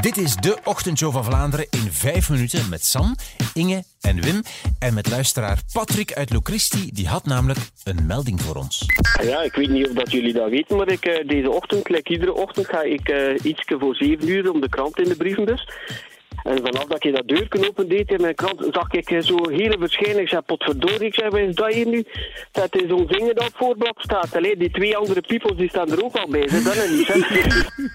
Dit is de ochtendshow van Vlaanderen in vijf minuten met Sam, Inge en Wim. En met luisteraar Patrick uit Locristi, die had namelijk een melding voor ons. Ja, ik weet niet of dat jullie dat weten, maar ik, eh, deze ochtend, like iedere ochtend, ga ik eh, iets ietsje voor zeven uur om de krant in de brievenbus. En vanaf dat ik dat deurknoop deed in mijn krant, zag ik eh, zo'n hele verschijning. Ik zei, potverdorie, ik zei, wat is dat hier nu? Dat is zo'n zingen dat op voorblad staat. Allee, die twee andere peoples die staan er ook al bij. Zeg, dat is niet, hè?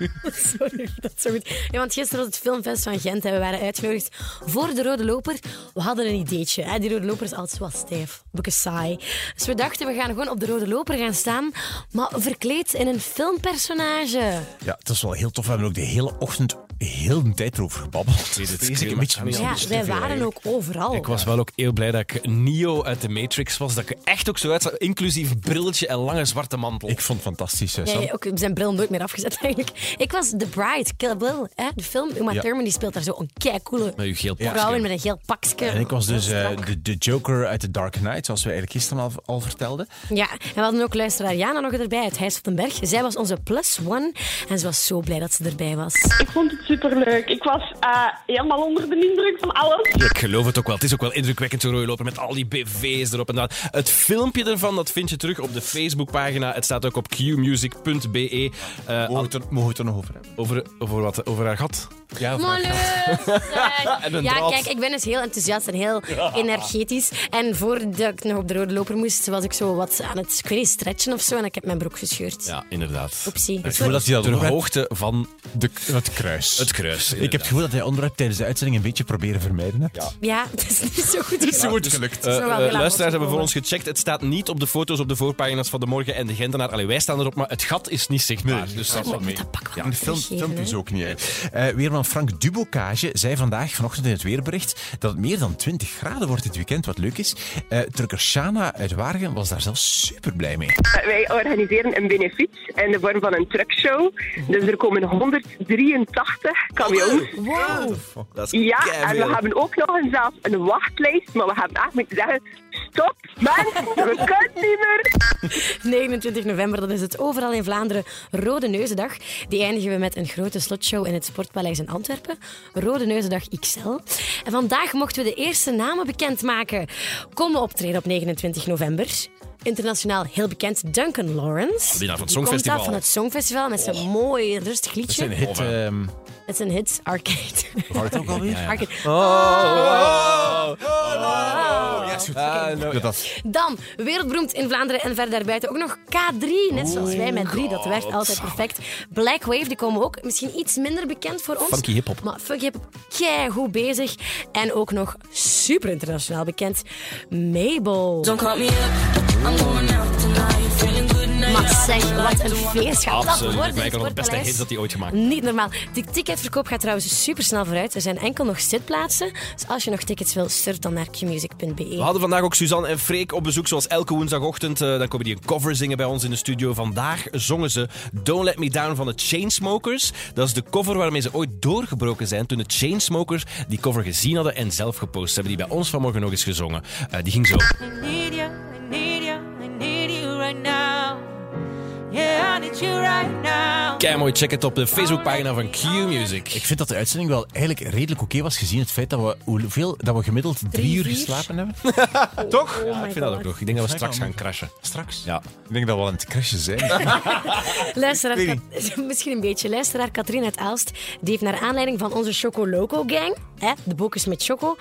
Sorry, dat is zo goed. Ja, want gisteren was het filmfest van Gent en we waren uitgenodigd voor de Rode Loper. We hadden een ideetje. Hè? Die Rode Loper is altijd wel stijf. Een beetje saai. Dus we dachten, we gaan gewoon op de Rode Loper gaan staan, maar verkleed in een filmpersonage. Ja, het is wel heel tof. We hebben ook de hele ochtend heel de tijd erover gebabbeld. Nee, dit is viel een me beetje aan. mis. Ja, wij waren ook overal. Ik was wel ook heel blij dat ik Neo uit de Matrix was. Dat ik echt ook zo uitzag, inclusief brilletje en lange zwarte mantel. Ik vond het fantastisch, eh, Ja, Sam. ja, ook, we zijn bril nooit meer afgezet eigenlijk. Ik was The Bride, Kill Bill, hè? de film. Uma Ja. Thurman die speelt daar zo een keicoole Met uw geel pakje. vrouw in met een geel pakje. En ik was dus eh, Strak. de, de Joker uit The Dark Knight, zoals we eigenlijk gisteren al, al vertelden. Ja, en we hadden ook luisteraar Jana nog erbij uit Huis van den Berg. Zij was onze plus one en ze was zo blij dat ze erbij was. Ik vond het superleuk. Ik was eh, helemaal onder de indruk van alles. Ik geloof het ook wel. Het is ook wel indrukwekkend, zo'n rode loper met al die BV's erop en dat. Het filmpje ervan dat vind je terug op de Facebookpagina. Het staat ook op qmusic.be. Eh, Mogen we het er- mogen we het er nog over hebben? over, over, wat, over haar gat. Ja, over Maar haar- leuk! En een Ja, draad. kijk, ik ben dus heel enthousiast en heel energetisch. En voordat ik nog op de rode loper moest, was ik zo wat aan het ik weet niet, stretchen of zo. En ik heb mijn broek gescheurd. Ja, inderdaad. Oepsie. Ik voel dat hij dat Ter ook heeft. hoogte van de, het kruis. het kruis. ik heb het gevoel dat hij onderwerp tijdens de uitzending een beetje proberen vermijden hebt. Ja, het is niet zo goed gelukt. wordt gelukt. is nog wel heel lang eh, luisteraars hebben voor opgekomen. ons gecheckt. Het staat niet op de foto's op de voorpagina's van de morgen en de Gentenaar. Allee, wij staan erop, maar het gat is niet zichtbaar. dus dat valt mee. Dat pak wel En de film, teruggeven, filmpjes hè. ook niet uit. Eh, weerman Frank Dubocage zei vandaag vanochtend in het weerbericht dat het meer dan 20 graden wordt dit weekend, wat leuk is. Eh trucker Shana uit Waregem was daar zelfs super blij mee. Eh, Wij organiseren een benefiet in de vorm van een truckshow. Dus er komen 183 camions. Wow. Ja, en we hebben ook nog een, zelf een wachtlijst. Maar we hebben echt moeten zeggen, stop mensen, we kunnen niet meer. 29 november, dat is het overal in Vlaanderen Rode Neuzendag. Die eindigen we met een grote slotshow in het Sportpaleis in Antwerpen. Rode Neuzendag XL. En vandaag mochten we de eerste namen bekendmaken. Komen optreden op 29 november. Internationaal heel bekend Duncan Lawrence. Winnaar van het Die komt Songfestival. Oh. af van het Songfestival met zijn mooi rustig Dat liedje. zijn hit. ehm Het is een hit, Arcade. hard ook alweer? Arcade. Oh. Oh. Oh, Ah, nou Ja, is goed. Doe dat. Dan, wereldberoemd in Vlaanderen en ver daarbuiten ook nog K3. Net Oh zoals wij met 3, dat werkt altijd perfect. Black Wave, die komen ook misschien iets minder bekend voor ons. Funky hiphop. Maar funky hiphop, keigoed bezig. En ook nog super internationaal bekend, Mabel. Maar zeg, wat een feest gaat dat Absoluut. worden. in Mij het kan nog de beste Sportpaleis. hits dat hij ooit gemaakt Niet normaal. De ticketverkoop gaat trouwens supersnel vooruit. Er zijn enkel nog zitplaatsen. Dus als je nog tickets wil, surf dan naar qmusic.be. We hadden vandaag ook Suzanne en Freek op bezoek, zoals elke woensdagochtend. Eh, dan komen die een cover zingen bij ons in de studio. Vandaag zongen ze Don't Let Me Down van de Chainsmokers. Dat is de cover waarmee ze ooit doorgebroken zijn toen de Chainsmokers die cover gezien hadden en zelf gepost hebben. Die bij ons vanmorgen nog eens gezongen. Eh, die ging zo. I need you, I need you, I need you right now. Yeah, I need you right now. Kei mooi, check het op de Facebookpagina van Q Music. Ik vind dat de uitzending wel eigenlijk redelijk oké was, gezien het feit dat we, hoeveel, dat we gemiddeld drie, Drie, uur Oh, vier? geslapen hebben. toch? my ik vind dat ook God. nog. Ik denk dat we straks gaan crashen. Straks. Ja. Ik denk dat we al aan het crashen zijn. Luisteraar, Kat- misschien een beetje. Luisteraar Katrien uit Aalst, die heeft naar aanleiding van onze Choco Loco gang, hè, de bokjes met choco,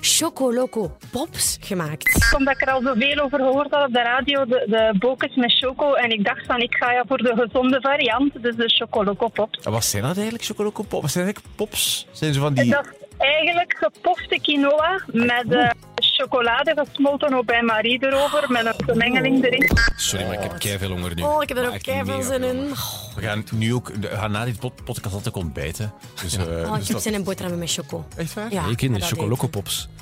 Choco Loco pops gemaakt. omdat ik er al zoveel over gehoord had op de radio, de, de bokjes met choco. En ik dacht van, ik ga ja voor de gezonde variant, dus de chocoloco pop. En Wat zijn dat eigenlijk, chocolocopop? Wat zijn eigenlijk pops? Zijn ze van die... Dat is eigenlijk gepofte quinoa met eh, chocolade gesmolten op bij Marie erover, met een vermengeling erin. Sorry, maar ik heb kei veel honger nu. Oh, ik heb er Maar ook echt keiveel mega zin veel in. honger. Oh, We gaan nu ook... We gaan na dit pod- podcast altijd ontbijten. Dus, Oh, eh, dus ik heb dat- zin in boterhammen met choco. Echt waar? Ja, Hey kinderen, dat Choco Pops. denk ik.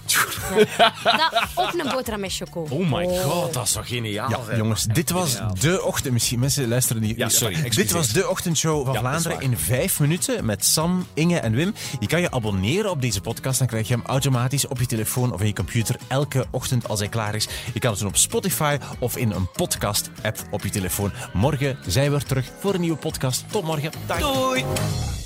Ja. Nou, of een boterham met choco. Oh my god, dat is toch geniaal. Ja, jongens, dit was de ochtend. Misschien mensen luisteren niet. Ja, sorry, Dit excuseer. was de ochtendshow van Ja, dat is Vlaanderen waar. in vijf minuten met Sam, Inge en Wim. Je kan je abonneren op deze podcast. Dan krijg je hem automatisch op je telefoon of in je computer elke ochtend als hij klaar is. Je kan het doen op Spotify of in een podcast-app op je telefoon. Morgen zijn we er terug voor een nieuwe podcast. Tot morgen. Dag. Doei!